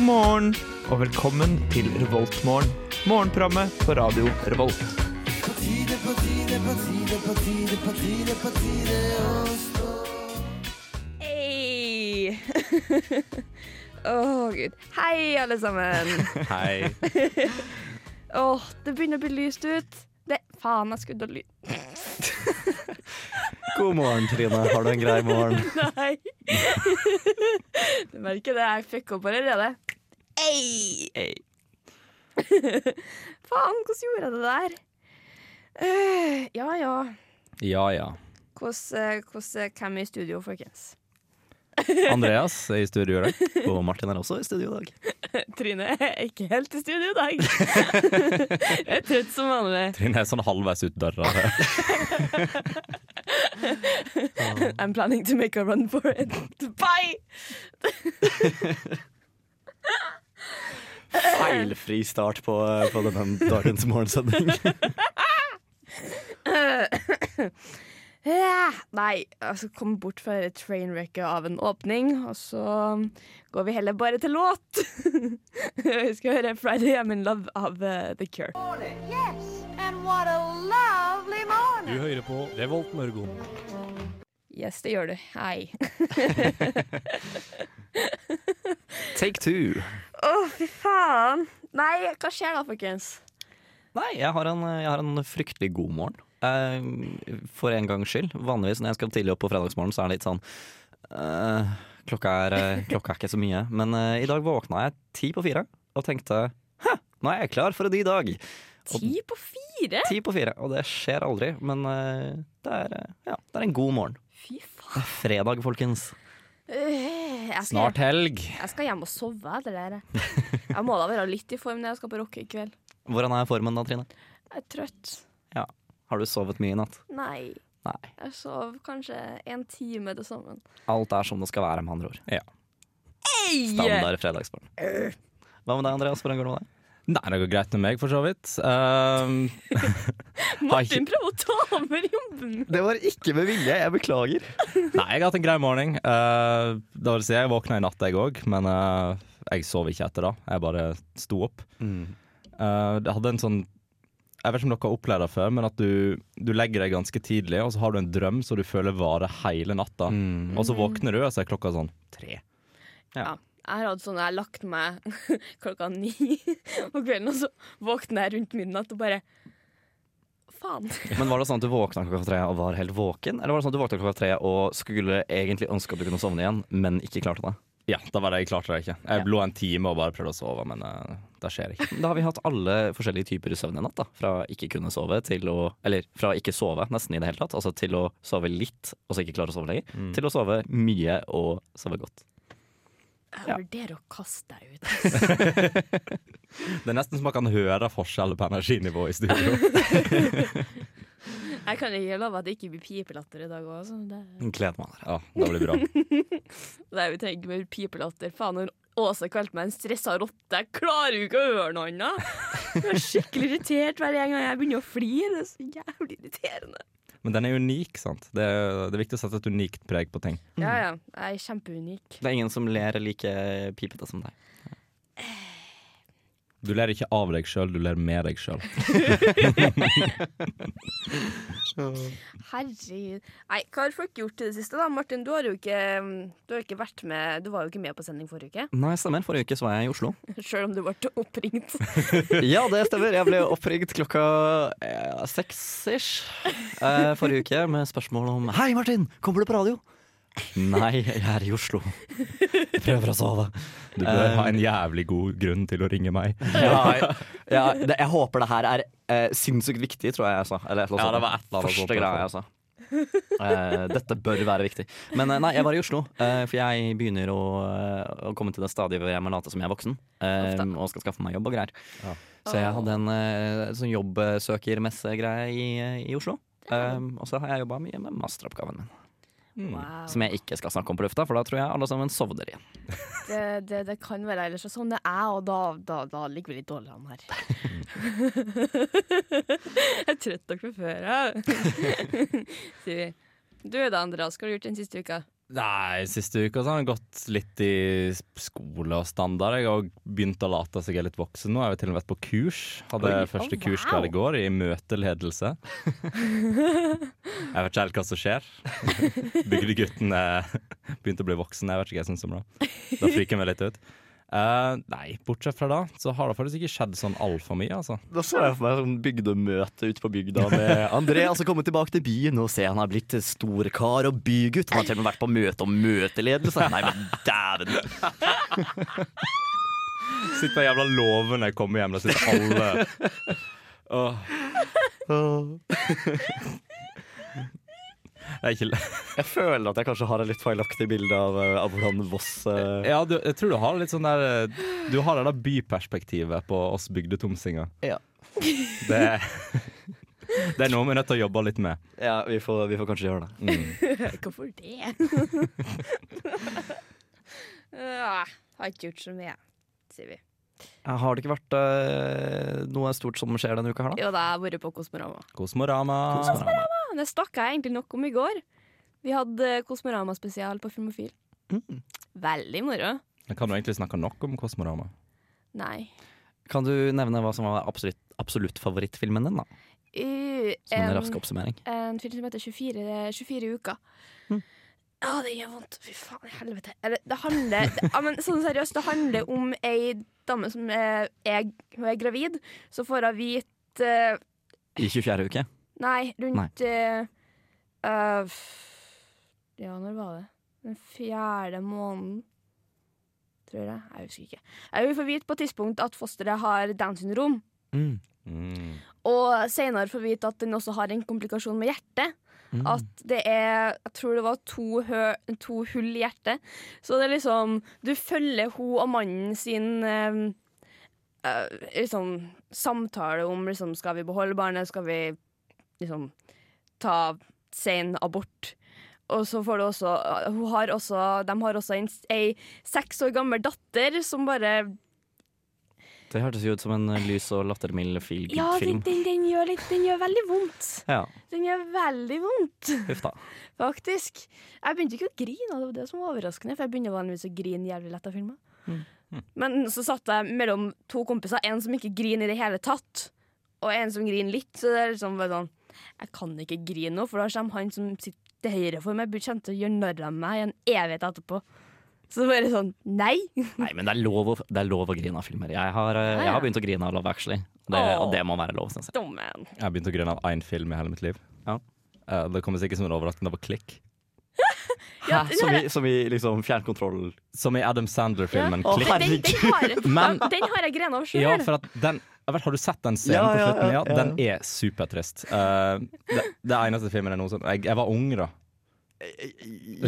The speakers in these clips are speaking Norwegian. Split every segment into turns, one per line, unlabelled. morgen og velkommen til Revoltmorgen. Morgenprogrammet på radio Revolt.
Hei! Å, gud. Hei, alle sammen.
Hei.
Å, det begynner å bli lyst ut. Det, faen, jeg skulle ha lyd.
God morgen, Trine. Har du en grei morgen?
Nei. du merker det, jeg fikk opp allerede. Ei!
Hey.
Faen, hvordan gjorde jeg det der? Eh, ja, ja.
Ja ja.
Hvordan, eh, hvordan, hvem er i studio, folkens?
Andreas er i studio i dag, og Martin er også i studio i dag.
Trine er ikke helt i studio i dag. jeg er trøtt som vanlig.
Trine er sånn halvveis ut døra.
I'm planning to make a run for it. Bye!
Feilfri start på, på denne dagens morgensending.
Eh, Nei, altså kom bort fra det trainwrecket av en åpning, og så går vi heller bare til låt. vi skal høre 'Friday I'm in Love' av eh, The Cure.
Yes, and what a lovely morning.
Du hører på Revolt Mørgon.
Yes, det gjør du. Hei.
Take two.
Å, fy faen. Nei, hva skjer da, folkens?
Nei, jeg har en, jeg har en fryktelig god morgen. Eh, for en gangs skyld. Vanligvis når jeg skal tidlig opp på fredagsmorgen, så er det litt sånn eh, klokka, er, eh, klokka er ikke så mye. Men eh, i dag våkna jeg ti på fire og tenkte Hæ, nå er jeg klar for en ny dag. Og-
Ti på fire?
Ti på fire, og det skjer aldri. Men eh, det, er, eh, ja, det er en god morgen.
Fy faen.
Det er fredag, folkens.
Eh, Jeg skal,
Snart helg.
Jeg skal hjem og sove etter det her. jeg. Jeg må da være litt i form når jeg skal på rocke i kveld.
Hvordan er formen da, Trine?
Jeg er trøtt.
Har du sovet mye i natt?
Nei.
Nei.
Jeg sov kanskje en time til sammen.
Alt er som det skal være, med andre ord. Ja.
Standard.
Standard fredagsbarn. Hva med deg, Andreas? Hvordan går det med deg?
Nei, det går greit med meg, for så vidt. Ehm,
Martin prøver å ta over jobben!
Det var ikke med vilje, jeg beklager.
nei, jeg har hatt en grei morgen. Eh, det vil si, jeg våkna i natt, jeg òg, men eh, jeg sov ikke etter det. Jeg bare sto opp.
Mm.
Eh, det hadde en sånn Jeg vet ikke om dere har opplevd det før, men at du, du legger deg ganske tidlig, og så har du en drøm som du føler varer hele natta.
Mm.
Og så våkner du, og så er klokka sånn tre.
Ja. Jeg har hatt sånn, jeg har lagt meg klokka ni på kvelden, og så våkner jeg rundt midnatt og bare Faen.
Men var det sånn at du våkna klokka tre og var helt våken? Eller var det sånn at du våkna klokka tre og skulle egentlig ønske at du kunne sovne igjen, men ikke klarte det?
Ja, da var det jeg klarte det ikke. Jeg lå en time og bare prøvde å sove, men eh, det skjer ikke.
Da har vi hatt alle forskjellige typer søvn i natt. da Fra ikke kunne sove til å Eller fra ikke sove nesten i det hele tatt, altså til å sove litt og så ikke klare å sove lenger, til å sove mye og sove godt.
Jeg
Ja.
vurderer å kaste deg ut.
Det er nesten så man kan høre forskjell på energinivå i studio.
Jeg kan ikke love at det ikke blir pipelatter i dag òg. Det,
Gleder meg allerede.
Ja, det blir bra.
det er jo tenkt med pipelatter. Faen, når Åse kalte meg en stressa rotte, jeg klarer jo ikke å høre noe annet! Jeg er skikkelig irritert hver gang jeg begynner å flire. Det er så jævlig irriterende.
Men den er unik, sant. Det er, det er viktig å sette et unikt preg på ting.
Ja, ja. Jeg er kjempeunik.
Det er ingen som ler like pipete som deg.
Du ler ikke av deg sjøl, du ler med deg sjøl.
Herregud. Nei, hva har folk gjort i det siste, da? Martin, du har jo ikke, du har ikke vært med Du var jo ikke med på sending forrige uke.
Nei, stemmer. Forrige uke så var jeg i Oslo.
Sjøl om du ble oppringt.
Ja, det stemmer. Jeg ble oppringt klokka eh, seks-ish eh, forrige uke med spørsmål om Hei, Martin! Kommer du på radio? Nei, jeg er i Oslo. Jeg prøver å sove.
Du bør ha en jævlig god grunn til å ringe meg.
Eh. Ja, jeg, ja, det, jeg håper det her er eh, sinnssykt viktig, tror jeg jeg sa. Eller et eller annet
Ja,
sånt.
det var et eller annet sånt,
Første greia jeg sa. Eh, dette bør være viktig. Men eh, nei, jeg var i Oslo, eh, for jeg begynner å, eh, å komme til det stadiet hvor jeg må late som jeg er voksen. eh,
Ofte.
og skal skaffe meg jobb og greier.
Ja.
Så jeg hadde en eh, sånn jobbsøkermessegreie i, eh, i Oslo. Um, og så har jeg jobba mye med masteroppgaven min,
Wow.
som jeg ikke skal snakke om på lufta, for da tror jeg alle sammen sovner igjen.
Det, det, det kan være ellers og sånn det er, og da, da, da ligger vi litt dårligere an her. jeg er trøtt nok fra før av. Sier vi. Du da, Andreas, hva har du gjort den siste uka?
Nei, siste uka så har han gått litt i skole og standard. Jeg har også begynt å late seg jeg er litt voksen nå. Jeg har til og med vært på kurs. Hadde
Oi.
første
Å,
kurs
wow.
hver i går, i møteledelse. jeg vet ikke helt hva som skjer. Bygdegutten eh, begynte å bli voksen. Jeg vet ikke hva jeg syns om det. Da friker jeg meg litt ut. Eh, nei, bortsett fra da, så har det faktisk ikke skjedd sånn altfor mye, altså.
Da så jeg for meg sånn bygdemøte ute på bygda med Andreas og kommet tilbake til byen og se han har blitt storkar og bygutt. Han har til og med vært på møte om møteledelse. Nei, men dæven.
Sitter på jævla låven når jeg kommer hjem, da sitter alle Åh. Det er ikke
Jeg føler at jeg kanskje har et litt feilaktig bilde av, eh, av hvordan Voss eh,
Ja, du, jeg tror du har litt sånn der eh, Du har det der byperspektivet på oss bygdetomsinger.
Ja.
Det, det er noe vi er nødt til å jobbe litt med.
ja vi, får, vi får kanskje gjøre det.
Hvorfor det? uh, har ikke gjort så mye, sier vi.
Har det ikke vært eh, noe stort som skjer denne uka her,
Jo da, jeg har vært på Kosmorama.
Kosmorama.
Ja, Det snakka jeg egentlig nok om i går. Vi hadde Kosmorama-spesial på Filmofil.
Mm.
Veldig moro.
Jeg Kan du egentlig snakke nok om Kosmorama?
Nei.
Kan du nevne hva som var absolutt, absolutt favorittfilmen din, da?
Uh,
Som en
em,
rask oppsummering.
En film som heter 24, 24 uker.
Hm.
Ja, det gjør vondt. Fy faen i helvete. Eller, det handler det, ja, men, Sånn seriøst, det handler om ei dame som er, er, hun er gravid. Så får hun vite eh,
I 24. uke.
Nei, rundt eh, eh, f- Ja, når var det? Den fjerde måneden, tror jeg. Jeg husker ikke. Jeg vil få vite på et tidspunkt at fosteret har Downs syndrom.
Mm.
Og senere får vi vite at den også har en komplikasjon med hjertet. At det er Jeg tror det var to, hø, to hull i hjertet. Så det er liksom Du følger hun og mannen sin eh, eh, liksom, samtale om liksom, Skal vi beholde barnet? Skal vi liksom ta sen abort? Og så får du også, eh, hun har også De har også en, ei seks år gammel datter som bare
Det hørtes jo ut som en lys og lattermild feel
Ja,
good-film.
den, den, den, gjør litt, den gjør veldig vondt.
Ja,
Den gjør veldig vondt,
huff da.
faktisk. Jeg begynte ikke å grine, og det var det som var overraskende, for jeg begynner vanligvis å grine jævlig lett av filmer.
Mm.
Men så satt jeg mellom to kompiser, en som ikke griner i det hele tatt, og en som griner litt, så det er liksom bare sånn Jeg kan ikke grine nå, for da kommer han som sitter til høyre for meg, blir kjent til å gjøre narr av meg i en evighet etterpå. Så bare sånn Nei!
Nei, men det er lov å, det er lov å grine av filmer. Jeg har, eh, jeg har begynt å grine av Love Actually. Det, og det må være lov, syns jeg.
Dommen.
Jeg har begynt å grine av én film i hele mitt liv.
Ja.
Eh, det kommer sikkert som en overraskelse, det var 'Klikk'.
Ja,
Hæ?
den
Som
her-
i, som i liksom fjernkontroll
Som i Adam Sandler-filmen
Ja. Å,
'Klikk'.
Den, den, den, har,
Men-
den har jeg grenet av sjøl.
Ja, for at den jeg vet, Har du sett den scenen
Ja,
på
ja,
slutten? Ja,
ja, ja.
Den er supertrist. Eh, det, det eneste filmen er noe sånn jeg, jeg var ung, da.
Eh,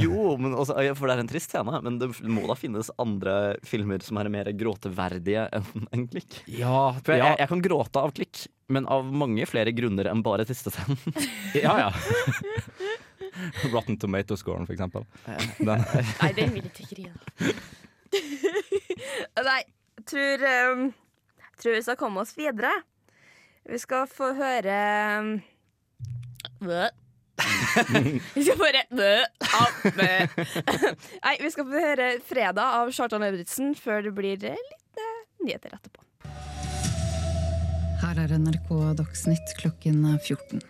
Jo, men også, for det er en trist scene. Men det må da finnes andre filmer som er mer gråteverdige enn en klikk.
Ja,
For jeg,
ja,
jeg kan gråte av klikk, men av mange flere grunner enn bare tristescenen.
ja, ja. Rotten Tomato-scoren, for eksempel. Den,
Nei, den vil ikke grine. Nei, jeg tror, um, jeg tror vi skal komme oss videre. Vi skal få høre um, Bø. vi skal få høre Bø. Au, bø. Nei, vi skal få høre 'Fredag' av Kjartan Lauritzen før det blir eh, litt eh, nyheter etterpå.
Her er NRK Dagsnytt klokken 14.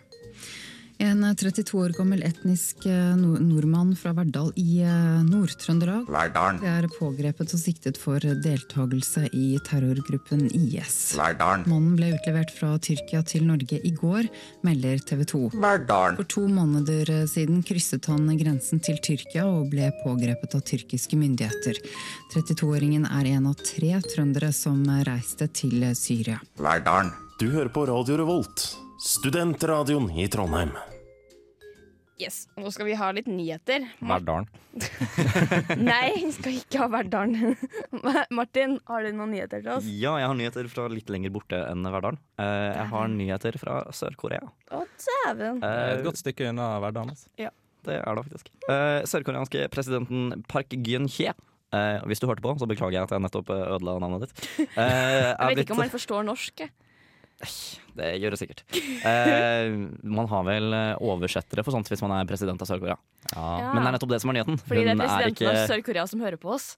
En 32 år gammel etnisk eh, nor- nordmann fra Verdal i eh, Nord-Trøndelag
Verdalen,
er pågrepet og siktet for deltakelse i terrorgruppen IS.
Verdalen,
Mannen ble utlevert fra Tyrkia til Norge i går, melder TV 2.
Verdalen,
For to måneder siden krysset han grensen til Tyrkia og ble pågrepet av tyrkiske myndigheter. 32-åringen er en av tre trøndere som reiste til Syria.
Verdalen.
Du hører på Radio Revolt, studentradioen i Trondheim.
Yes, Nå skal vi ha litt nyheter.
Verdalen.
Nei, vi skal ikke ha Verdalen. Martin, har du noen nyheter til oss?
Ja, jeg har nyheter fra litt lenger borte enn Verdalen. Eh, Jeg har nyheter fra Sør-Korea.
Å, dæven.
Det er
Eh,
Et godt stykke unna Verdalen. Altså.
Det er det faktisk. Eh, Sørkoreanske presidenten Park Geun-hye. eh, hvis du hørte på, så beklager jeg at jeg nettopp eh, ødela navnet ditt. Eh, er
Jeg vet
blitt-
ikke om han forstår norsk. jeg.
Det gjør det sikkert. Eh, man har vel eh, oversettere for sånt hvis man er president av Sør-Korea.
Ja.
Men det er nettopp det som er nyheten.
Fordi det
Hun
er
er
presidenten
ikke-
av Sør-Korea som hører på oss.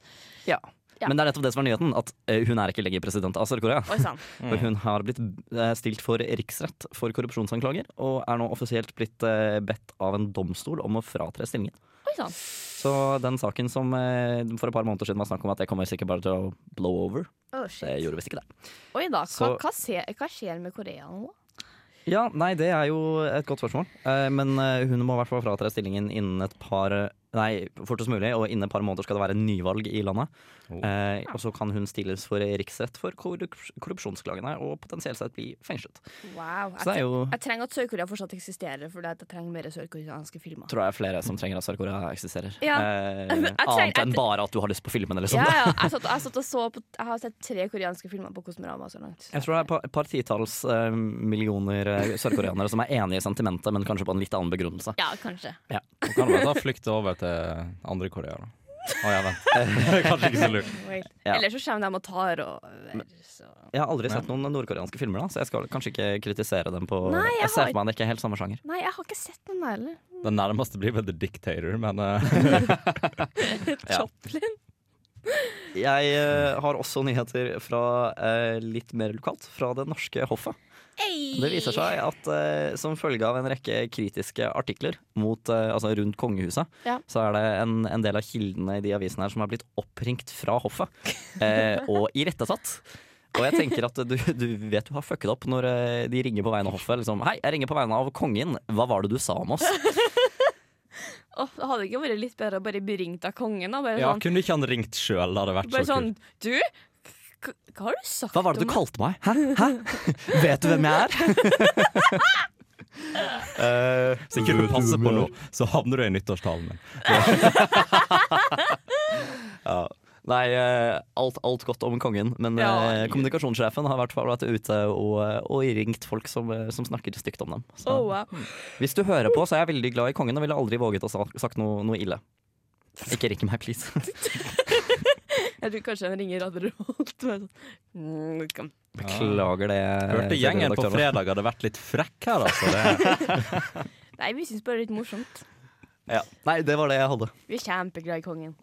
Ja.
Ja.
Men det er nettopp det som er nyheten, at eh, hun er ikke lenger president av Sør-Korea.
Oi sann.
For hun har blitt eh, stilt for riksrett for korrupsjonsanklager, og er nå offisielt blitt eh, bedt av en domstol om å fratre stillingen.
Oi sann.
Så den saken som eh, for et par måneder siden var snakk om at det kommer sikkert bare til å blow over,
Oh,
det
shit.
gjorde visst ikke det.
Oi da. Hva,
Så-
hva, skjer, hva skjer med Korea nå?
Ja, nei, det er jo et godt spørsmål. Eh, men eh, hun må i hvert fall fratre stillingen innen et par Nei, fortest mulig, og innen et par måneder skal det være nyvalg i landet.
Oh.
Eh, og så kan hun stilles for riksrett for korrups korrupsjonsklagene og potensielt sett bli fengslet.
Wow.
Så det er
Jeg,
jo
jeg trenger at Sør-Korea fortsatt eksisterer, for jeg trenger mer sørkoreanske filmer.
tror jeg flere som trenger at Sør-Korea eksisterer.
Ja.
Eh,
Jeg trenger-
annet
jeg-
enn bare at du har lyst på filmen eller
Ja,
sånn.
ja. Jeg, satt, jeg, satt og så på, jeg har sett tre koreanske filmer på Kosmorama så langt.
Jeg tror det er et par- et par titalls eh, millioner eh, sørkoreanere som er enige i sentimentet, men kanskje på en litt annen begrunnelse.
Ja, kanskje.
Du kan bare ta flykt over til andre Korea, da. Å ja, vent. Det er Kanskje ikke så lurt.
Wait.
Ja.
Eller så kommer de og tar over. Så.
Jeg har aldri sett noen nordkoreanske filmer, da, så jeg skal kanskje ikke kritisere dem på
Nei, jeg
Jeg ser
har-
for meg det ikke er helt samme sjanger.
Nei, jeg har ikke sett den der heller.
Den nærmeste blir vel The Dictator, men eh,
Ja.
Choplin.
Jeg eh, har også nyheter fra eh, litt mer lokalt, fra det norske hoffet. Det viser seg at eh, som følge av en rekke kritiske artikler mot, eh, altså rundt kongehuset,
Ja.
så er det en, en del av kildene i de avisene her som er blitt oppringt fra hoffet eh, og irettesatt. Og jeg tenker at du, du vet du har fucket opp når eh, de ringer på vegne av hoffet. Liksom, Hei, jeg ringer på vegne av kongen. Hva var det du sa om oss?
Åh, det hadde ikke vært litt bedre å bare bli ringt av kongen. Da. Bare,
ja,
sånn,
kunne ikke han ringt sjøl? Det hadde vært
bare
så
sånn
kult.
Du, k- hva har du sagt
Hva var det
om
du
meg?»
kalte meg? Hæ? Hæ? Vet du hvem jeg er?
Hvis ikke du passer på nå, så havner du i nyttårstalen min.
Nei, eh, alt, alt godt om kongen, men
Ja.
eh, kommunikasjonssjefen har i hvert fall vært ute og, eh, og ringt folk som, eh, som snakker stygt om dem. Så.
Åh, wow.
Hvis du hører på, så er jeg veldig glad i kongen og ville aldri våget å sa- sagt noe, noe ille. Ikke ring meg, please.
Jeg tror kanskje han ringer Radio Revolt. bare sånn, «Mm, kom».
Beklager Eh, det.
Hørte gjengen på
redaktøren.
fredag hadde vært litt frekk her, altså. Det.
Nei, vi syns bare det er litt morsomt.
Ja. Nei, det var det jeg hadde.
Vi er kjempeglad i kongen.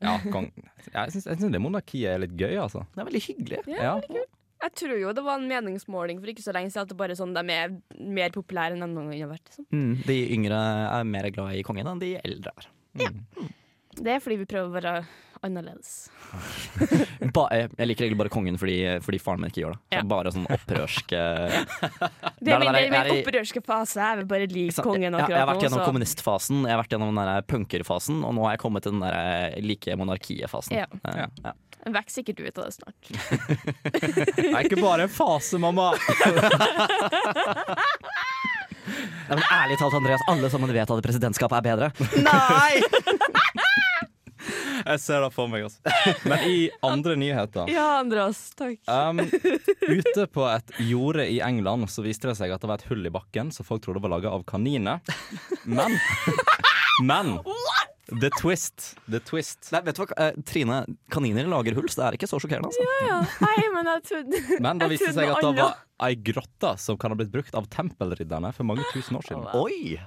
Ja, kong. Jeg syns, jeg syns det monarkiet er litt gøy, altså.
Det er veldig hyggelig.
Ja.
Jeg tror jo det var en meningsmåling for ikke så lenge siden at det bare er sånn de er mer populære enn de noen gang har vært. Liksom.
Mm, de yngre er mer glad i kongen enn de eldre er.
Det er fordi vi prøver å være annerledes.
Ba, eh, jeg liker egentlig bare kongen fordi, fordi faren min ikke gjør det.
Ja.
Så Bare sånn opprørsk eh,
Det
Der
er
var jeg-
min, det er min
jeg er i-
opprørske fase. Jeg vil bare
Ikke
like
sant?
kongen
jeg, jeg har
akkurat
vært
nå.
gjennom
så-
kommunistfasen, jeg har vært gjennom den der punkerfasen, og nå har jeg kommet til den der eh, like monarkiet-fasen.
Ja.
Eh, ja.
Jeg vokser sikkert ut av det snart.
Det er ikke bare en fase, mamma.
Nei, men ærlig talt, Andreas, alle sammen vet at presidentskapet er bedre.
Nei!
Jeg ser det for meg, altså. Men i andre nyheter
Ja, Andreas. Takk.
um, Ute på et jorde i England så viste det seg at det var et hull i bakken som folk trodde var laga av kaniner. Men Men The twist. The twist.
Nei, vet du hva, eh, Trine, kaniner lager hull, så det er ikke så sjokkerende. Altså.
Ja, Nei, men jeg trodde
Men det
Jeg
viste det seg
trodde
at det
alle-
var ei grotte som kan ha blitt brukt av tempelridderne for mange tusen år siden.
Oi!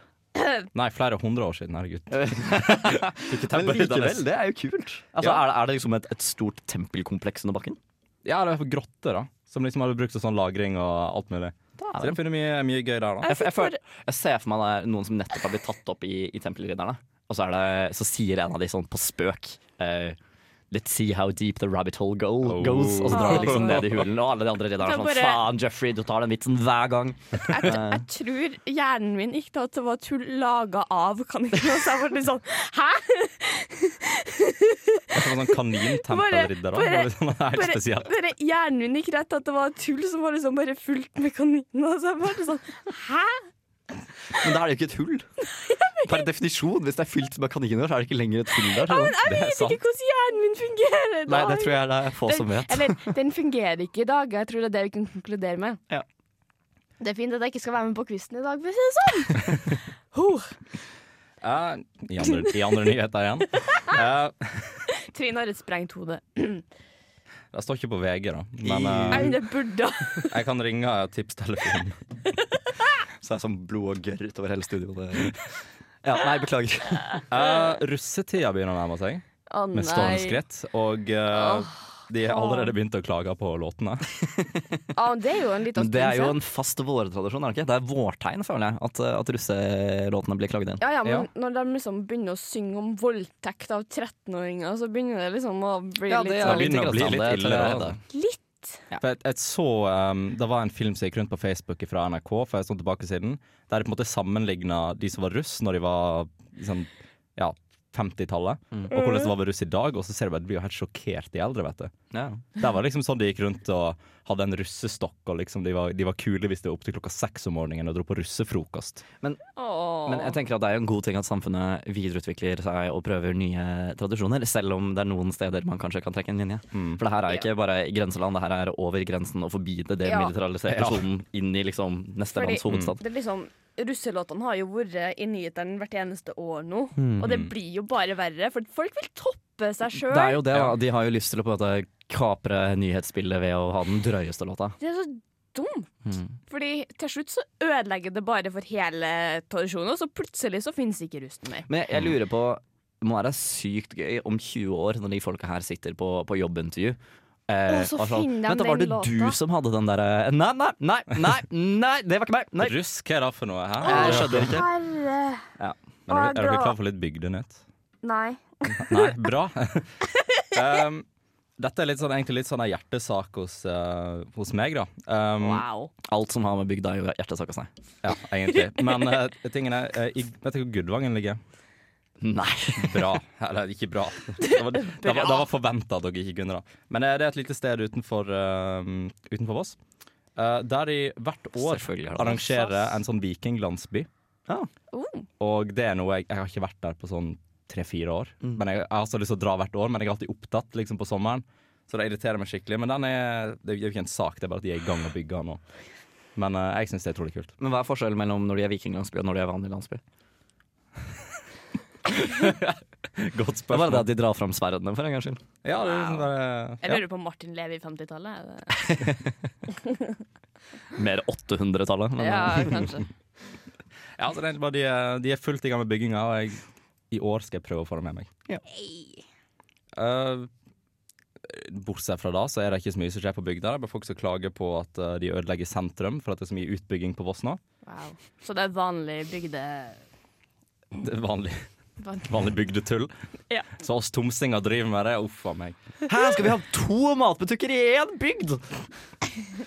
Nei, flere hundre år siden, herregud. Ikke
Men
tempelriddernes-
likevel, det er jo kult. Altså,
Ja.
er, det, er det liksom et, et stort tempelkompleks under bakken?
Ja, det var grotter, da. Som liksom hadde brukt til sånn lagring og alt mulig. Så de har funnet mye, mye gøy der, da.
Jeg, jeg, føler, jeg ser for meg det er noen som nettopp har blitt tatt opp i, i Tempelridderne. Og så, er det, så sier en av de sånn på spøk eh, Let's see how deep the rabbit hole go goes. Og så drar de liksom ned i hulen. Og alle de andre ridderne er
Kan
sånn
bare-
Faen, Jeffrey, du tar den vitsen hver gang.
jeg, jeg tror hjernen min gikk til at det var tull laga av kaniner. Så jeg ble litt sånn Hæ?
Det var sånn kanintempelridder, da. Det var sånn helt
Bare,
spesielt.
bare hjernen min gikk rett til at det var tull som var liksom bare fullt med kaniner. Så jeg ble sånn Hæ?
Men da er det jo ikke et hull. Per definisjon, hvis det er fylt med kaniner, så er det ikke lenger et hull der. sånn.
Jeg vet ikke hvordan hjernen min fungerer i dag.
Nei, det tror jeg det er få som vet.
Eller, den fungerer ikke i dag. Jeg tror det er det vi kan konkludere med.
Ja.
Det er fint at jeg ikke skal være med på quizen i dag, for å si det sånn. Huh.
Eh, i, andre, I andre nyheter igjen. Eh,
Trine har et sprengt hode.
Det står ikke på VG, da. Men
Nei,
eh,
men det burde
jeg kan ringe tipstelefonen.
Så det er sånn blod og gørr utover hele studioet. Ja, nei, beklager.
Eh, russetida begynner å nærme seg,
Å
med
nei.
stormskritt. Og eh, de har allerede begynt å klage på låtene.
Ja, men det er jo en liten
Men det er jo
stund siden.
en fast vårtradisjon, er det ikke? Det er vårtegn, føler jeg, at, eh, at russelåtene blir klaget inn.
Ja, ja, men
Ja.
når de liksom begynner å synge om voldtekt av 13-åringer, så begynner det liksom å bli
Ja,
litt
det
Det
er
sånn
begynner å bli
grann
litt
det,
ille.
tør jeg
da.
hevde.
Litt.
For jeg, jeg så, ehm, Det var en film som gikk rundt på Facebook fra NRK for en stund tilbake siden, der de på en måte sammenligna de som var russ når de var liksom, ja, 50-tallet, og hvordan det var å være russ i dag. Og så ser du bare, de blir jo helt sjokkert, de eldre, vet du.
Ja.
Der var det liksom sånn de gikk rundt og hadde en russestokk, og liksom de var, de var kule hvis de var oppe til klokka seks om morgenen og dro på russefrokost.
Åh.
Men jeg tenker at det er jo en god ting at samfunnet videreutvikler seg og prøver nye tradisjoner, selv om det er noen steder man kanskje kan trekke en linje. For det her er ikke bare grenseland, det her er over grensen og forbi det
Ja.
demilitariserte
Ja.
sonen inn i liksom neste
Fordi-
lands hovedstad.
Det er liksom, Russelåtene har jo vært i nyhetene hvert eneste år nå, og det blir jo bare verre. For folk vil toppe seg
Mm.
sjøl.
Det er jo det, da.
Ja.
De har jo lyst til å på en måte kapre nyhetsbildet ved å ha den drøyeste låta.
Det er så dumt.
Mm.
Fordi til slutt så ødelegger det bare for hele tradisjonen, og så plutselig så finnes ikke russen mer.
Men jeg, jeg lurer på Det må være sykt gøy om 20 år når de folka her sitter på, på jobbintervju. Eh,
Å, så
og sånn,
finner de
Vent, da, var det
den
du
låta."
som hadde den derre Nei, nei, nei, nei, nei, det var ikke meg! Nei.
Russ, hva er det for noe? Hæ?
Jeg skjønner ikke.
Herre
Men er, dere- er dere
bra.
klar for litt bygdenytt?
Nei.
Nei, bra. um, dette er litt sånn, egentlig litt sånn en hjertesak hos, eh, hos meg, da. Um,
Wow.
Alt som har med bygda å gjøre, altså. hjertesak å si.
Ja, egentlig. Men uh, tingen er, eh, i, vet du hvor Gudvangen ligger?
Nei.
Bra. Eller ikke bra. Det var, det var, det var forventa at dere ikke kunne det. Men eh, det er et lite sted utenfor, eh, utenfor Voss. Eh, der de hvert år
Selvfølgelig har det det.
arrangerer en sånn vikinglandsby.
Ja.
Oh.
Og det er noe jeg, jeg har ikke vært der på sånn tre-fire år.
Mm.
Men jeg, jeg har så lyst til å dra hvert år, men jeg er alltid opptatt liksom, på sommeren. Så det irriterer meg skikkelig. Men den er, det er jo ikke en sak, det er bare at de er i gang og bygger den nå. Men eh, jeg syns det er utrolig kult.
Men hva er forskjellen mellom når de er vikinglandsby og når de er vanlig landsby?
Godt
Det er bare det at de drar fram sverdene, for en gangs skyld.
Ja, det er liksom bare
Jeg
ja.
lurer på om Martin Levi i 50-tallet. er det-
Mer 800-tallet. men-
Ja, kanskje.
ja, så det er egentlig bare de, er- de er fullt i gang med bygginga, og jeg, i år skal jeg prøve å få det med meg. Eh, bortsett fra da, så er det ikke så mye som skjer på bygda. Det er bare folk som klager på at eh, de ødelegger sentrum for at det er så mye utbygging på Voss nå.
Wow. Så det er vanlig bygde...
Det er vanlig.
vanlig-
vanlig bygdetull.
Ja.
Så oss tomsinger driver med det, uff a meg.
Her skal vi ha to matbutikker i én bygd!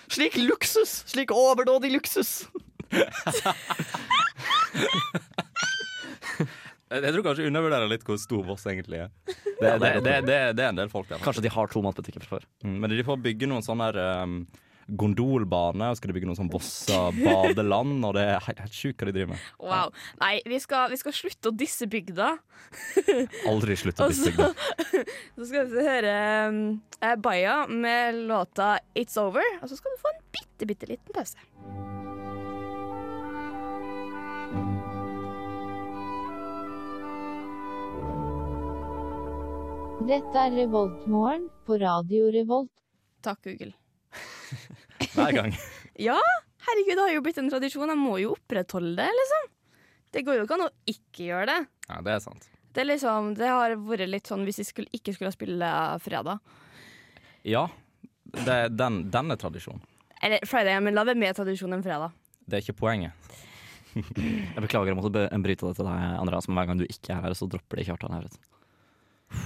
Slik luksus! Slik overdådig luksus!
Jeg jeg tror kanskje jeg undervurderer litt hvor stor Voss egentlig er. Det,
Ja,
det,
det er
det, det, det er en del folk der.
Kanskje de har to matbutikker fra før.
Mm, Men de får bygge noen sånne her, um, gondolbane, og skal de bygge noen sånn Vossa badeland, og det er helt, helt sjukt hva de driver med.
Wow. Nei, vi skal, vi skal slutte å disse bygda.
Aldri slutt å
Altså.
Og så-
disse bygdene.
Altså, Så skal vi høre um, eh, Baya med låta 'It's Over', og så skal du få en bitte, bitte liten pause.
Dette er Revoltmorgen på Radio Revolt.
Takk, Google.
Hver gang.
Ja, herregud, det har jo blitt en tradisjon. Jeg må jo opprettholde det, liksom. Det går jo ikke an å ikke gjøre det.
Ja, det er sant.
Det, er liksom, det har vært litt sånn hvis vi skulle, ikke skulle ha spille fredag.
Ja, det, er- den, den er tradisjon.
Eller Friday, men la det være mer tradisjon enn fredag.
Det er ikke poenget.
Jeg beklager å måtte be- bryte det til deg, Andreas, men hver gang du ikke er her, så dropper de Kjartan Hauret.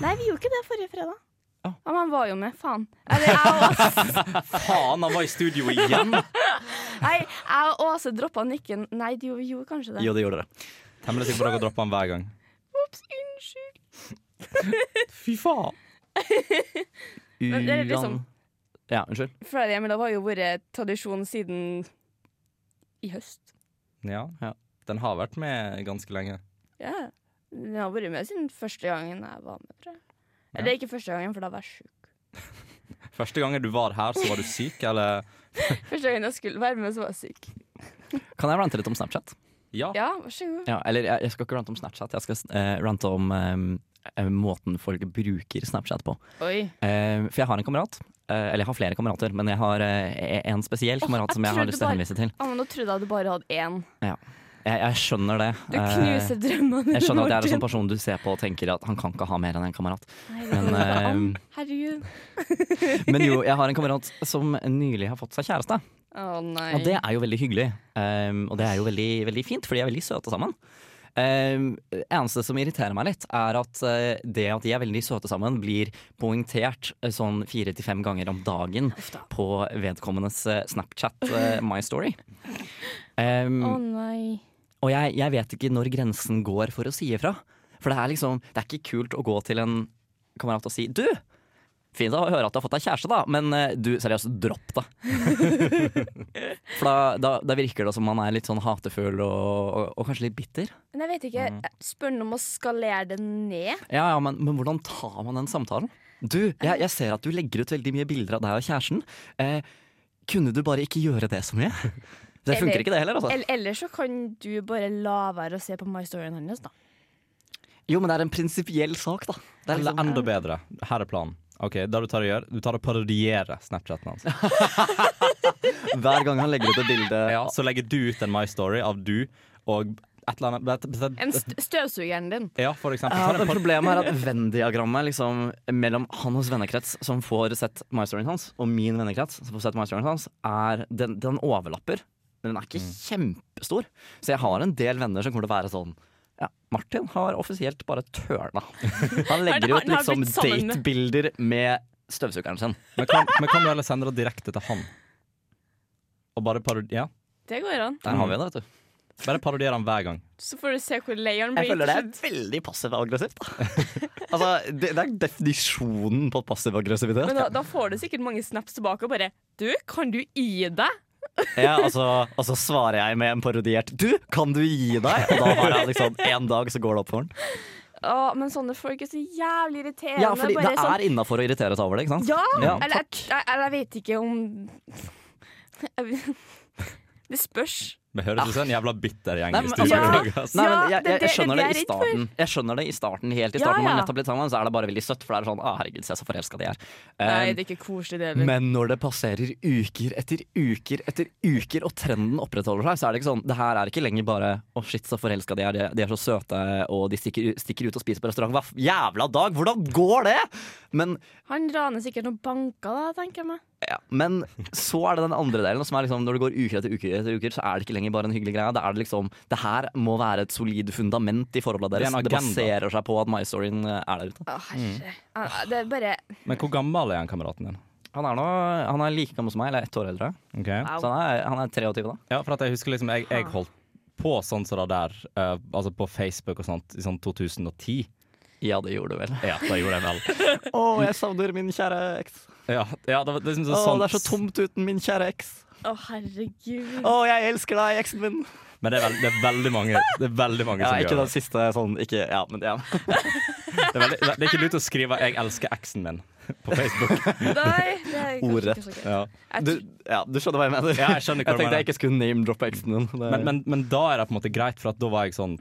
Nei, vi gjorde ikke det forrige fredag.
Ja.
Ja, men han var jo med, faen. Eller jeg og Åse,
Faen, han var i studio igjen!
nei, jeg og Åse droppa nikken. Nei, de gjorde, vi gjorde kanskje det.
Jo, det gjorde dere.
Temmelig sikker på at dere dropper han hver gang.
Ops, unnskyld.
Fy faen.
Men det er liksom-
Ja, unnskyld.
Friday men det har jo vært tradisjon siden i høst.
Ja,
Ja.
den har vært med ganske lenge.
Ja. Den har vært med siden første gangen jeg var med, tror jeg. Eller ikke første gangen, for da var jeg sjuk.
Første gangen du var her, så var du syk, eller?
Første gangen jeg skulle være med, så var jeg syk.
Kan jeg rante litt om Snapchat?
Ja.
Ja, vær så god.
Ja, eller jeg, jeg skal ikke rante om Snapchat, jeg skal eh, rante om eh, eh, måten folk bruker Snapchat på.
Oi.
Eh, for jeg har en kamerat, eh, eller jeg har flere kamerater, men jeg har eh, en spesiell
Åh,
kamerat
jeg
som jeg har
trodde
lyst til å
bare-
henvise til.
Ah, men nå trodde jeg du bare hadde én.
Jeg, jeg skjønner det.
Du
Eh,
knuser drømmene
jeg skjønner at jeg er en sånn
Martin.
person du ser på og tenker at han kan ikke ha mer enn en kamerat.
Nei, det
Men,
går ikke an.
eh,
Herregud.
men jo, jeg har en kamerat som nylig har fått seg kjæreste.
Å nei.
Og det er jo veldig hyggelig. Um, og det er jo veldig, veldig fint, for de er veldig søte sammen. Um, eneste som irriterer meg litt, er at eh, det at de er veldig søte sammen, blir poengtert eh, sånn fire til fem ganger om dagen
Uff da.
på vedkommendes eh, Snapchat eh, My Story. Um,
Å nei.
og jeg, jeg vet ikke når grensen går for å si ifra. For det er liksom, det er ikke kult å gå til en kamerat og si Du! Fint å høre at du har fått deg kjæreste, da, men eh, du, seriøst, dropp det. For da, da, da virker det som man er litt sånn hatefull og, og, og kanskje litt bitter.
Men jeg vet ikke.
Mm.
Spør han om å skalere det ned?
Ja, ja, men, men hvordan tar man den samtalen? Du, jeg, jeg ser at du legger ut veldig mye bilder av deg og kjæresten. Eh, kunne du bare ikke gjøre det så mye? Det
Eller-
funker ikke, det heller, altså.
Eller, eller så kan du bare la være å se på My Storyen hans, da.
Jo, men det er en prinsipiell sak, da. Det er
Eller
liksom,
enda bedre. Her er planen. Ok, da Du tar og gjør Du tar og parodierer Snapchaten hans.
hver gang han legger ut et bilde
Ja. Så legger du ut en My Story av du og et eller annet
En st støvsugeren din.
Ja, for eksempel. Så
Ja,
er det
men
en par-
problemet er at Venn-diagrammet liksom, mellom han hos vennekrets som får sett My Storyen hans, og min vennekrets som får sett My Storyen hans, er, den, den overlapper. Men den er
Mm.
ikke kjempestor. Så jeg har en del venner som kommer til å være sånn ja, Martin har offisielt bare tørna. Han legger ut
Han- han har
liksom
blitt sammen med-
datebilder med støvsugeren sin.
Men kan, men kan du heller sende det direkte til han? Og bare parodier Ja,
Det går an.
Der har vi det, vet du.
bare parodier han hver gang.
Så får du se hvor lei han
Jeg
blir.
føler det
til
er
slutt.
veldig passivt-aggressivt. altså, det, det er definisjonen på passiv-aggressivitet.
Men da, da får du sikkert mange snaps tilbake og bare Du, kan du gi deg?
Ja, og så, og så svarer jeg med en parodiert 'du, kan du gi deg?' Og da har jeg liksom en dag, så går det opp for den.
Å, men sånne folk er så jævlig irriterende.
Ja, fordi
bare
det
sånn,
er innafor å irritere seg over det, ikke sant?
Ja!
Ja,
eller, jeg, jeg, eller jeg vet ikke om jeg vet- Det spørs.
Vi høres ut som en jævla bitter gjeng.
Ah. Nei,
hvis
men
du
altså-
skal lage oss.
Nei, men jeg,
Ja, det-
jeg,
det-
jeg skjønner det
det
i
er jeg redd for.
starten. Jeg skjønner det i starten, Helt i
Ja,
starten når man
ja.
nettopp blitt sammen, så er det bare veldig søtt. For det er sånn 'Å, herregud, se så forelska de er'.
Nei,
Eh,
det er ikke koselig, det heller.
men når det passerer uker etter uker etter uker, og trenden opprettholder seg, så er det ikke sånn Det her er ikke lenger bare 'Å, shit, så forelska de er', de- de er så søte, og de stikker, stikker ut og spiser på restaurant. Hva f- jævla dag! Hvordan går det?! Men
Han raner sikkert noen banker, da, tenker jeg meg.
Ja, men så er det den andre delen, som er liksom, når det går uker etter uker, etter uker, så er det ikke lenger bare en hyggelig greie. Det er det liksom, det her må være et solid fundament i forholdet
Det er
deres.
en
Det,
agenda.
baserer seg på at My Storyen er der ute.
Å, herre.
Mm.
Ja, Det er bare
Men hvor gammel er han kameraten din?
Han er, nå, han er like gammel som meg, eller ett år eldre.
Ok.
Så han er, han er 23 da.
Ja, for at jeg husker liksom Jeg, jeg
Ah.
holdt på sånn som det der, eh, altså på Facebook og sånt, i sånn 2010.
Ja, det gjorde du vel.
Ja, da gjorde jeg vel.
Å, jeg savner min kjære eks.
Ja, ja det var det er liksom
Å,
sånn,
det er så tomt uten min kjære eks.
Å, herregud.
Å, jeg elsker deg, eksen min.
Men det er, veld, det er veldig mange, det er veldig mange
Ja,
som
ikke
gjør det.
den siste sånn, ikke, ja, men ja.
Det er, veldig, det er ikke lurt å skrive 'jeg elsker eksen min' på Facebook.
Nei, det er kanskje
Ordrett.
ikke så greit.
Ja.
Jeg
Du, ja, du skjønner hva jeg mener.
Ja, jeg skjønner hva
jeg
du
tenkte
mener.
jeg ikke skulle name-droppe eksen din. Det-
Men, men, men da er det på en måte greit, for at da var jeg sånn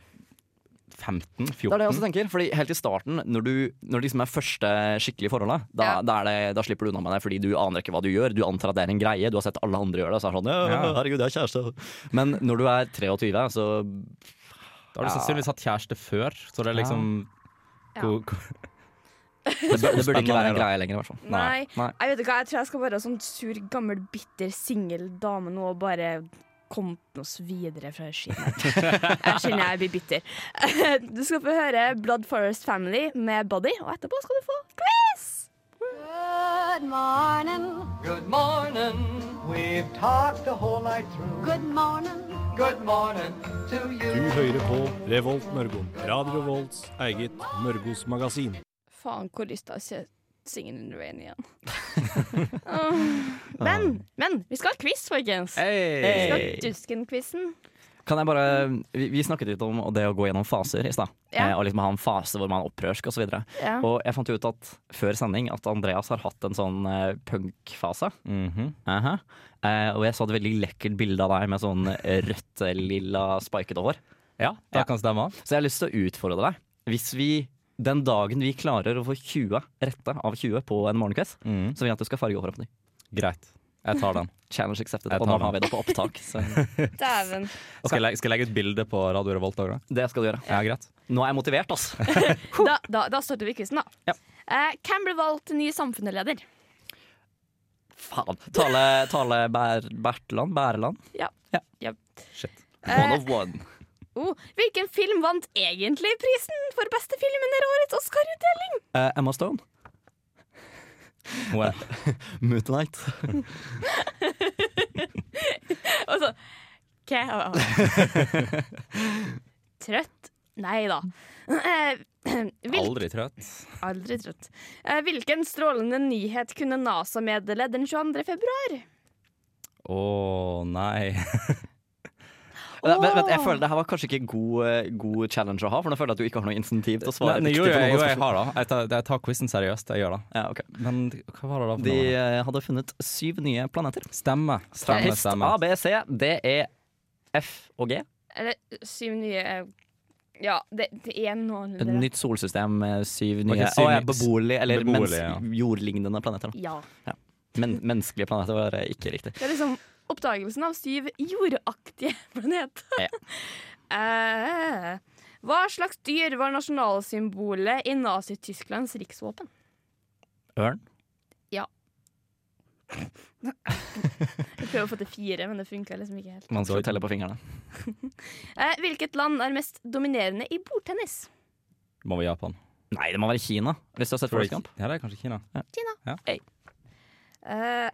15-14.
Det er det jeg også tenker, fordi helt i starten, når, du, når det liksom er første skikkelige forholdet, da,
Ja.
da, er det, da slipper du unna med det, fordi du aner ikke hva du gjør. Du antar at det er en greie, du har sett alle andre gjøre det. Så er det sånn, ja,
Ja.
herregud, jeg har kjæreste. Men når du er 23, så
Da har du sannsynligvis hatt kjæreste før, så det er liksom
Ja.
hvor- hvor-
det, bør- det burde ikke være
Spennende,
en greie lenger, i hvert fall.
Nei.
Nei.
Jeg vet ikke, hva, jeg tror jeg skal være sånn sur, gammel, bitter, singel dame nå og bare komme oss videre fra skinnet. Jeg kjenner jeg blir bitter. Du skal få høre Blood Forest Family med Body, og etterpå skal du få quiz!
Good morning.
Good morning. We've talked the whole night through.
Good morning.
Good morning to you.
Du hører på Revolt Mørgo. Radio Revolts eget Mørgos magasin.
Faen, hvor lyst til å se Singing in the Rain igjen. Åh. men, men, vi skal ha quiz, folkens. Vi skal ha Dusken-quizen.
Kan jeg bare, vi, vi snakket litt om det å gå gjennom faser i stad,
Ja.
eh, og liksom ha en fase hvor man er opprørsk osv. videre
Ja.
Og jeg fant jo ut at før sending at Andreas har hatt en sånn eh, punkfase.
Mhm.
Aha. Eh, og jeg så et veldig lekkert bilde av deg med sånn rødt-lilla spiket hår.
Ja, det kan stemme.
Så jeg har lyst til å utfordre deg. Hvis vi Den dagen vi klarer å få 20 rette av 20 på en morgenquiz,
Mm.
så vil jeg at du skal farge håret på ny.
Greit. Jeg tar den.
Challenge accepted.
Jeg tar
Og nå
den.
har vi det på opptak. Så
Dæven.
Skal jeg, legge- skal jeg legge ut bilde på Radio Revolt òg, da?
det skal du gjøre.
Ja, greit.
Nå er jeg motivert, altså.
Da, da, da starter vi quizen, da.
Ja.
Eh, hvem ble valgt til ny samfunnsleder?
Faen. Tale, tale Bær, Bertland? Bæreland? One
Eh,
of one.
oh, hvilken film vant egentlig prisen for beste film under årets Oscar-utdeling?
Eh, Emma Stone?
Hun er-
Mootlight.
Og så Altså, Hva var det? Trøtt? Nei da. Eh, Hvil,
Aldri trøtt.
aldri trøtt. Eh, hvilken strålende nyhet kunne NASA meddele den 22. februar?
Å nei.
Vent, vent, jeg føler Det her var kanskje ikke god, eh, god challenge å ha, for nå føler jeg at du ikke har noe insentiv til å svare
Nei,
riktig
jo,
på
jo,
noen
jo, jeg
spørsmål.
har det. Jeg tar, jeg tar quizen seriøst. Jeg gjør det.
Ja, ok.
Men hva var det da for
De
noe?
eh, hadde funnet syv nye planeter.
Stemme. Stemme,
Test A,
stemme.
B, C, D, E, F og G.
Eller syv nye eh, Ja, det, det er
Et
noenlunde.
nytt solsystem med syv nye
Ok,
okay,
syv nye-
Beboelige, eller
beboelige,
mens,
ja.
jordlignende planeter. Da.
Ja.
Men, menneskelige planeter var eh, ikke riktig.
Det er liksom oppdagelsen av syv jordaktige planeter.
Ja.
eh, hva slags dyr var nasjonalsymbolet i Nazi-Tysklands riksvåpen?
Ørn?
Jeg prøver å få til fire, men det funka liksom ikke helt.
Man skal telle på fingrene.
Eh, hvilket land er mest dominerende i bordtennis?
Må vi Japan?
Nei, det må være Kina. Hvis du har sett
Tror jeg-
Forrest Gump.
Ja, det er kanskje Kina.
Eh, eh,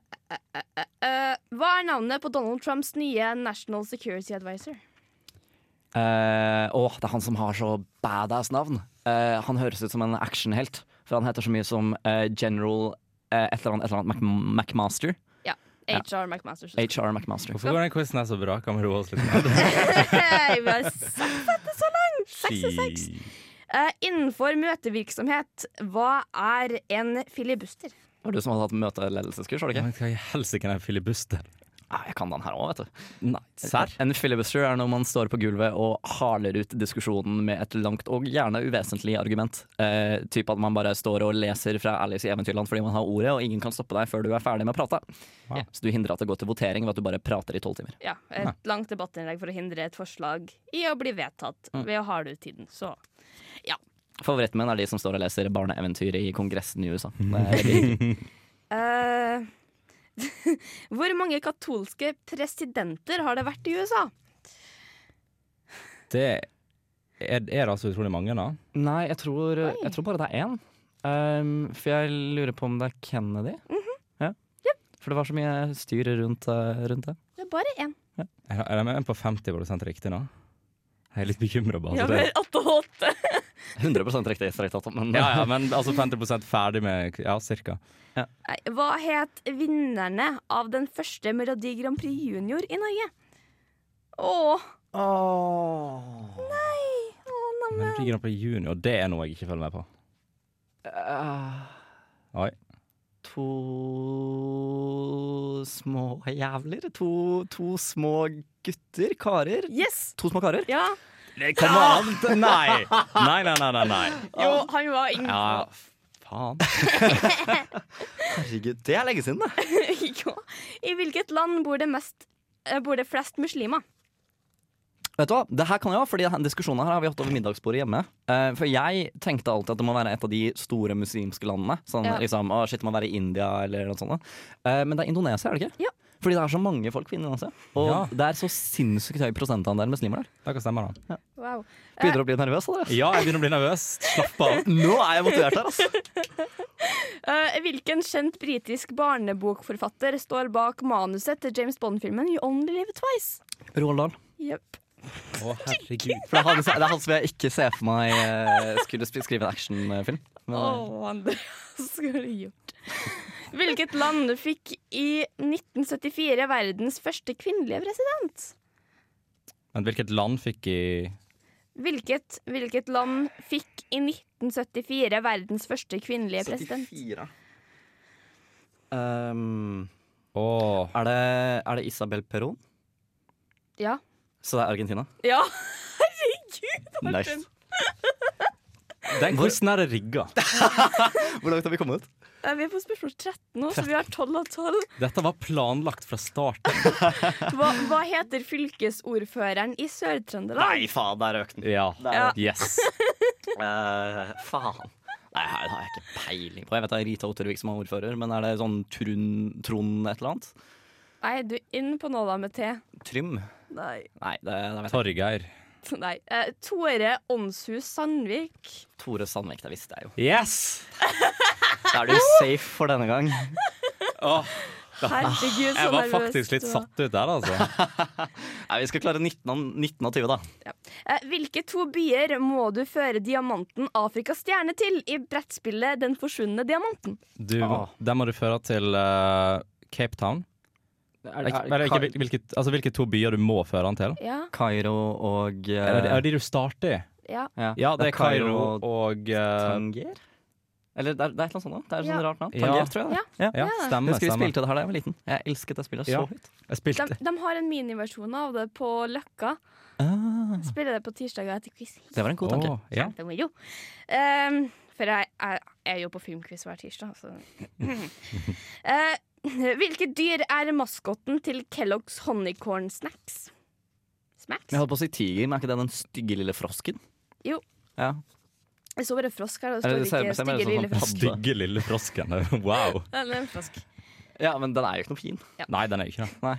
eh, eh, eh, hva er navnet på Donald Trumps nye National Security Advisor?
Eh, Å, det er han som har så badass navn. Eh, han høres ut som en actionhelt. For han heter så mye som eh, General eh, et eller annet, et eller annet Mac McMaster.
HR McMaster.
HR McMaster.
Hvorfor går den quizen her så bra? Kan vi roe oss litt? ned?
Hey, vi har sagt dette så langt! Seks og seks.
Shit.
Eh, innenfor møtevirksomhet, hva er en filibuster?
Det var du som hadde hatt møteledelseskurs, var det ikke?
Men Hva i helsike er en filibuster?
Ah, jeg kan den her òg, vet du.
Nei, serr?
En filibuster er når man står på gulvet og haler ut diskusjonen med et langt og gjerne uvesentlig argument. Eh, typ at man bare står og leser fra Alice i Eventyrland fordi man har ordet, og ingen kan stoppe deg før du er ferdig med å prate.
Wow.
Så du hindrer at det går til votering ved at du bare prater i tolv timer.
Ja, et langt debattinnlegg for å hindre et forslag i å bli vedtatt ved å harde ut tiden. Så
Favoritten min er de som står og leser barneeventyr i Kongressen i USA. Det er veldig hyggelig.
eh, Hvor mange katolske presidenter har det vært i USA?
Det er, er det altså utrolig mange, da?
Nei, jeg tror, jeg tror bare det er én. Ehm, for jeg lurer på om det er Kennedy. ja. For det var så mye styr rundt, eh, rundt det.
Det er bare én.
Er er det en på 50 riktig nå? Jeg er litt bekymra bare.
Ja,
for det.
8 og 8.
100 riktig, strengt tatt. Men,
Ja, ja, men altså 50 ferdig med Ja, cirka.
Nei, Hva het vinnerne av den første Melodi Grand Prix Junior i Norge? Å, å
Men
navnet
Melodi Grand Prix Junior, det er noe jeg ikke følger med på.
Eh,
Oi.
To små jævler? To, to små gutter? Karer?
Yes!
To små karer?
Ja.
Kom an! Nei! Nei, nei, nei, nei. nei.
Jo, han var ingen
Ja, faen.
Herregud, det er lenge siden, det!
ja. I hvilket land bor det, mest, eh, bor det flest muslimer?
Vet du hva, det her kan jeg ha, fordi denne diskusjonen her har vi hatt over middagsbordet hjemme. Eh, for jeg tenkte alltid at det må være et av de store muslimske landene. Sånn
Ja.
liksom, å shit, det må være India eller noe sånt. Eh, men det er Indonesia, er det ikke?
Ja.
Fordi det er så mange folk på Indonesia. Og
Ja.
det er så sinnssykt høy prosentandel muslimer der.
Det kan stemme, da.
Wow.
Begynner å bli nervøs av dere.
Ja, jeg begynner å bli nervøs. Slapp av.
Nå er jeg motivert her, altså!
Eh, hvilken kjent britisk barnebokforfatter står bak manuset til James Bond-filmen You Only Live Twice?
Roald Dahl.
Yep.
Å, herregud.
For det er han, det er han som jeg ikke ser for meg eh, skulle sp- skrive en actionfilm. Men, eh,
Andreas, skulle du gjort Hvilket land fikk i 1974 verdens første kvinnelige president?
Men hvilket land fikk i
Hvilket, hvilket land fikk i 1974 verdens første kvinnelige president?
74. Um,
Å,
er, det, er det Isabel Perón?
Ja.
Så det er Argentina?
Ja, herregud!
Nice.
Den quizen her er rigga.
Hvor langt har vi kommet?
Eh, Vi er på spørsmål 13 nå, så vi har 12 av 12.
Dette var planlagt fra starten.
Hva, hva heter fylkesordføreren i Sør-Trøndelag?
Nei, faen, der røk den.
Ja.
Ja.
Yes.
Eh, faen. Nei, det har jeg ikke peiling på. Jeg vet det er Rita Ottervik som er ordfører, men er det sånn Trun, Trond et eller annet?
Nei, du er inne på noe da med T.
Trym?
Nei.
Nei, det, det vet jeg.
Torgeir.
Nei. Eh, Tore Åndshus Sandvik.
Tore Sandvik, det visste jeg jo.
Yes!
Da er du safe for denne gang.
Åh,
Herregud, så
jeg var
nervøs
faktisk litt
du var.
satt ut der, altså.
Nei, Vi skal klare 19 av, 19 av 20, da.
Eh, Hvilke to byer må du føre diamanten Afrikas stjerne til i brettspillet Den forsvunne diamanten?
Du,
Ah.
den må du føre til eh, Cape Town.
Er,
Ikke- Eller ikke, hvil- hvilke, altså, hvilke to byer du må føre den til?
Ja,
Kairo og eh,
Er det, er det de du starter i?
ja.
ja.
Ja, det er Kairo
og
og eh,
Tanger? Eller det er, det er et eller annet sånt. da. Det er et sånt
Ja.
rart navn.
Ja.
Tanger, tror jeg. det.
Ja, stemmer.
Husker vi
stemmer.
spilte det her da jeg var liten. Jeg elsket det spillet
Ja.
så høyt.
Jeg
De,
spilte
de har en miniversjon av det på Løkka.
Ah,
Spiller det på tirsdager etter quiz.
det var en god tanke.
Åh, ja.
Kjempemoro. Ehm, for jeg, jeg, jeg er jo på filmquiz hver tirsdag, så Eh, Hvilke dyr er maskotten til Kellogg's Honeycorn Snacks? Smacks?
Jeg holdt på å si tiger, men er ikke det den stygge lille frosken?
Jo.
Ja.
Jeg så bare frosk her, og det
Er det
står
det samme-
ikke
samme
stygge
som
lille
sånn
frosk.
padde?
Stygge lille frosken. Wow.
Eller en frosk.
ja, men den er jo ikke noe fin.
Nei, den er ikke det.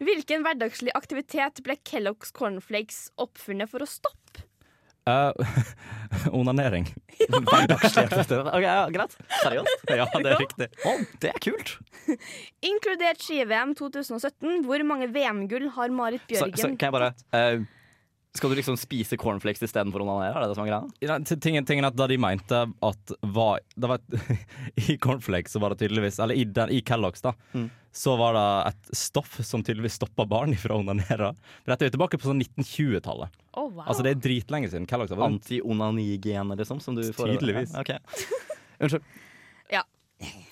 Hvilken hverdagslig aktivitet ble Kellogg's Cornflakes oppfunnet for å stoppe?
Eh, onanering.
Hverdagslig aktivitet. Ok, ja, greit. Seriøst?
Ja, det er riktig.
Å, det er kult!
Inkludert ski-VM 2017, hvor mange VM-gull har Marit
Så,
Bjørgen?
så kan jeg bare eh, Skal du liksom spise cornflakes istedenfor onanere? Er det det som er greia?
Ja, t- tingen, tingen er at Da de mente at var, det var et, I cornflakes så var det tydeligvis Eller i, den, i Kellogg's, da. Så var det et stoff som tydeligvis stoppa barn ifra å onanere. Men Dette er jo tilbake på sånn 1920-tallet.
Å, wow.
Altså Det er dritlenge siden Kellogg's. har vært en-
Anti-onanigenet, liksom? Som du får
Tydeligvis.
Ja, ok. Unnskyld.
Ja.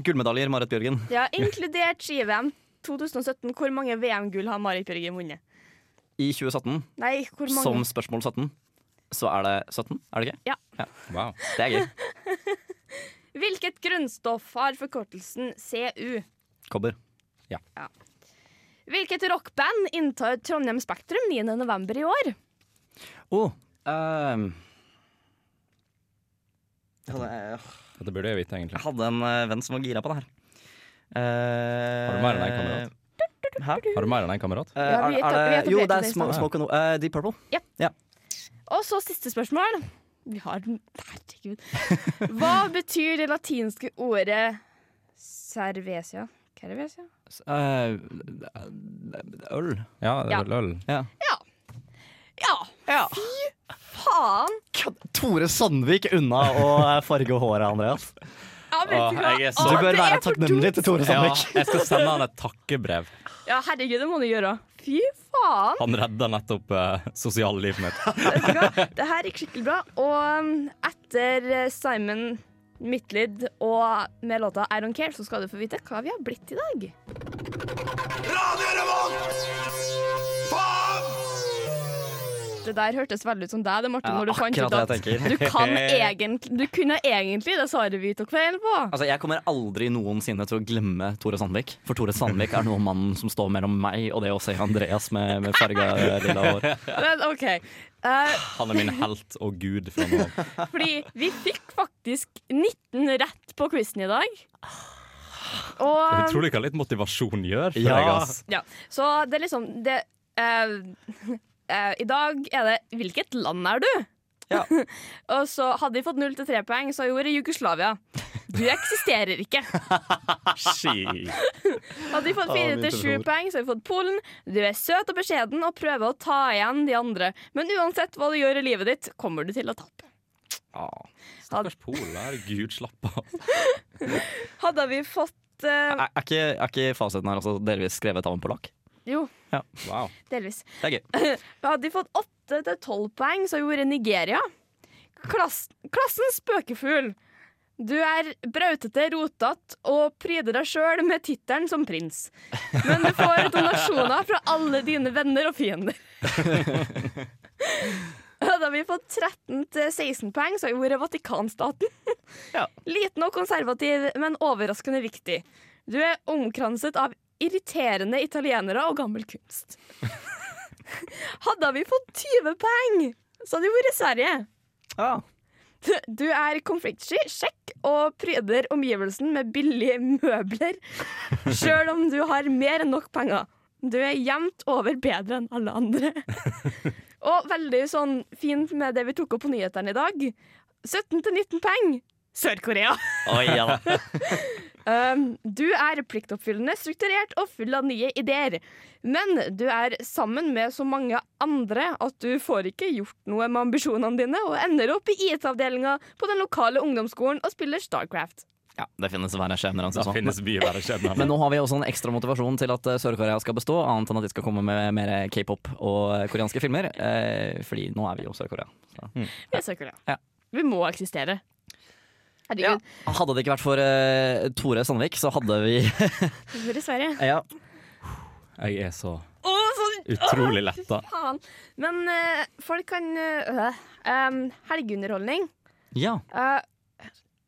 Gullmedaljer, Marit Bjørgen.
ja, inkludert ski-VM 2017, hvor mange VM-gull har Marit Bjørgen vunnet?
I 2017,
Nei, hvor mange?
som spørsmål 17, så er det 17, er det ikke?
Wow.
Det er gøy.
Hvilket grunnstoff har forkortelsen CU?
Kobber.
Hvilket rockband inntar Trondheim Spektrum 9. november i år?
Oh, ehm. Jeg hadde,
Dette burde jeg vite, egentlig.
jeg hadde en eh, venn som var gira på det her. Eh,
Har du mer enn en kamerat?
Hæ?
Har du mer enn en kamerat?
Eh,
Ja,
er,
vi
er,
etab- vi
det, jo, det
etablerte
er
det i
Smoke,
stad.
smoke and O- eh, Deep Purple.
Og så siste spørsmål. Vi har Herregud. Hva betyr det latinske ordet cervesia? Cervesia?
Eh, øl.
Ja, det
Ja.
er vel eh, øl.
Ja! Fy faen!
Tore Sandvik unna å eh, farge håret, Andreas.
Ja, vet du hva?
jeg er så-
Å,
Du bør
det er
være
for
takknemlig til Tore
Ja,
Sandvik.
jeg skal sende han et takkebrev.
dumt. Ja, herregud, det må du gjøre. Fy faen!
Han redda nettopp eh, sosiallivet mitt.
Vet du hva? Det her gikk skikkelig bra. Og um, etter eh, Simon Midtlid og med låta I Don't Care, så skal du få vite hva vi har blitt i dag. Det der hørtes veldig ut som deg, det, Martin,
Ja,
når du fant
akkurat
ut at
det jeg
du, kan egentlig, du kunne egentlig det svaret vi tok feil på.
Altså, Jeg kommer aldri noensinne til å glemme Tore Sandvik. For Tore Sandvik er nå mannen som står mellom meg og det å se Andreas med, med farga eh, lilla hår.
Men OK. Eh,
Han er min helt og gud fra nå av.
Fordi vi fikk faktisk 19 rett på quizen i dag. Og
Utrolig hva litt motivasjon gjør for
Ja.
deg, altså. ass.
Ja, så det er liksom det, eh, eh, I dag er det 'Hvilket land er du?'
Ja.
og så hadde vi fått null til tre poeng, så gjorde Jugoslavia. Du eksisterer ikke.
Shit.
Hadde vi fått fire til sju poeng, så hadde vi fått Polen. Du er søt og beskjeden og prøver å ta igjen de andre. Men uansett hva du gjør i livet ditt, kommer du til å tape.
Stakkars Polen. Herregud, slapp av.
Hadde vi fått eh,
Er, er, ikke, er ikke fasiten her altså delvis skrevet av en polakk?
Jo,
Wow.
delvis.
Det er gøy.
Hadde de fått åtte til tolv poeng, så gjorde Nigeria. Klass, klassens spøkefugl. Du er brautete, rotete og pryder deg sjøl med tittelen som prins. Men du får donasjoner fra alle dine venner og fiender. Og Hadde vi fått 13 til 16 poeng, så hadde vi vært Vatikanstaten. Liten og konservativ, men overraskende viktig. Du er omkranset av irriterende italienere og gammel kunst. Hadde vi fått 20 poeng, så hadde vi vært Sverige.
Ah.
Du er konfliktsky, sjekk, og pryder omgivelsen med billige møbler, sjøl om du har mer enn nok penger. Du er jevnt over bedre enn alle andre. Og veldig sånn fint med det vi tok opp på nyhetene i dag. 17-19 poeng. Sør-Korea.
Oi, ja da.
Um, du er pliktoppfyllende, strukturert og full av nye ideer. Men du er sammen med så mange andre at du får ikke gjort noe med ambisjonene dine, og ender opp i IT-avdelinga på den lokale ungdomsskolen og spiller Starcraft.
Ja, det finnes verre skjebner. enn som
Det
så.
finnes mye verre skjebner.
Men nå har vi også en ekstra motivasjon til at eh, Sør-Korea skal bestå, annet enn at de skal komme med mer k-pop og eh, koreanske filmer. Eh, fordi nå er vi jo Sør-Korea. så.
Vi er Sør-Korea.
Ja.
Vi må eksistere.
Ja.
Herregud.
Hadde det ikke vært for eh, Tore Sandvik, så hadde vi
Vi bor i Sverige.
Ja,
Jeg er så
Å, sånn
utrolig letta.
faen! Men eh, folk kan eh, um, Helgeunderholdning.
ja.
Eh,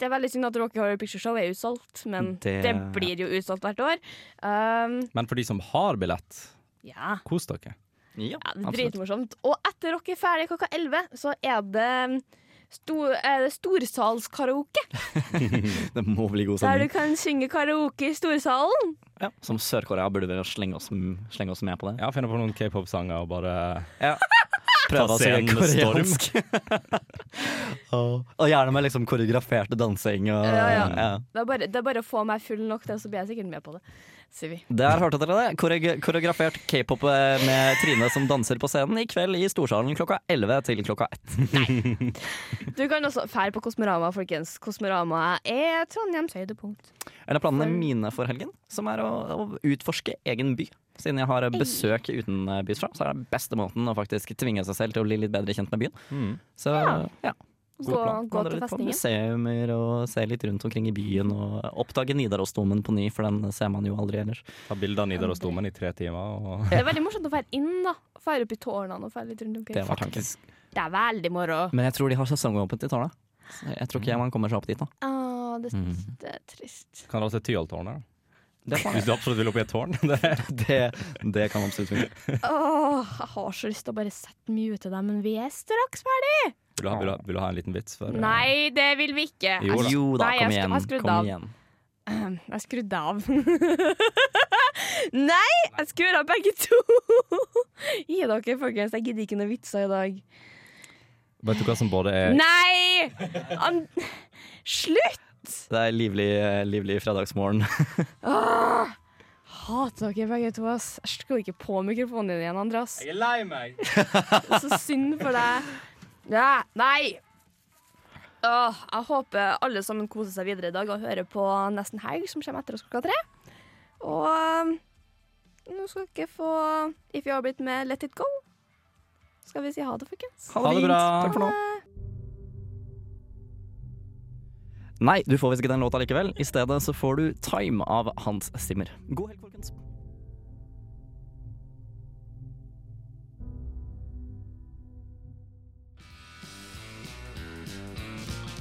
det er veldig synd at Rocky Horror Picture Show er utsolgt, men det,
Det-
blir jo utsolgt hvert år. Um,
Men for de som har billett,
ja.
kos dere.
ja,
ja, det er
absolutt.
dritmorsomt. Og etter Rock er ferdig klokka 11, så er det mm, sto- er det storsalskaraoke.
Det må bli god
Der du
stemning.
kan synge karaoke i storsalen.
Ja. Som Sør-Korea burde vi slenge oss, slenge oss med på det.
Ja, finne på noen k-pop-sanger og bare
Prøve å si
scenen med storm.
koreansk. og, og gjerne med liksom koreograferte dansing og
Ja, ja. Det er, bare, det er bare å få meg full nok, det, så blir jeg sikkert med på det. Sier vi.
Der hørte dere det. Koreg- Koreografert k-pop eh, med Trine som danser på scenen i kveld i Storsalen klokka 11 til klokka 1.
Du kan også fære på Kosmorama, folkens. Kosmorama er Trondheims høydepunkt.
Eller planene mine for helgen, som er å, å utforske egen by. Siden jeg har besøk utenbys fra, så er det beste måten å faktisk tvinge seg selv til å bli litt bedre kjent med byen. Så ja.
Gå, gå
Vandre
til
litt på
festningen.
museumer og se litt rundt omkring i byen. Og oppdage Nidarosdomen på ny, for den ser man jo aldri ellers.
ta bilder av Nidarosdomen i tre timer. Og
Det er veldig morsomt å fære inn, da. Fære opp i tårnene og fære litt rundt omkring.
Det var tanken.
Det er veldig moro.
Men jeg tror de har sesongåpent i Tala. Så Jeg tror ikke man kommer seg opp dit nå.
Å, det,
Mm.
det er trist.
kan dra til Tyholttårnet.
Det, er faen-
Hvis du absolutt vil opp i et tårn. Det er
det, det kan absolutt funke.
Åh, jeg har så lyst til å bare sette mye ut til deg, men vi er straks ferdig!
Vil du, ha, vil, du ha, vil du ha en liten vits? For, eh,
Nei, det vil vi ikke.
Jo da.
Jo da,
Nei, jeg
kom igjen.
skru- jeg skrudde
Kom
av.
igjen.
Jeg skrudde av. Nei, jeg skrur av begge to! Gi dere, folkens. Jeg gidder ikke noen vitser i dag.
Vet du hva som både er
Nei! An Slutt!
Det er livlig, eh, livlig fredagsmorgen.
Hater dere begge to, ass. Jeg skrur ikke på mikrofonen din igjen, Andreas.
er lei meg.
Så synd for deg. Ja, nei! Åh, jeg håper alle sammen koser seg videre i dag og hører på Nesten Helg, som kommer etter oss klokka tre. Og um, nå skal dere få If You Are Blitt med Let It Go. Skal vi si ha det, folkens?
Ha det bra.
Takk for nå. Nei, du får visst ikke den låta likevel. I stedet så får du Time av Hans Zimmer. God helg, folkens.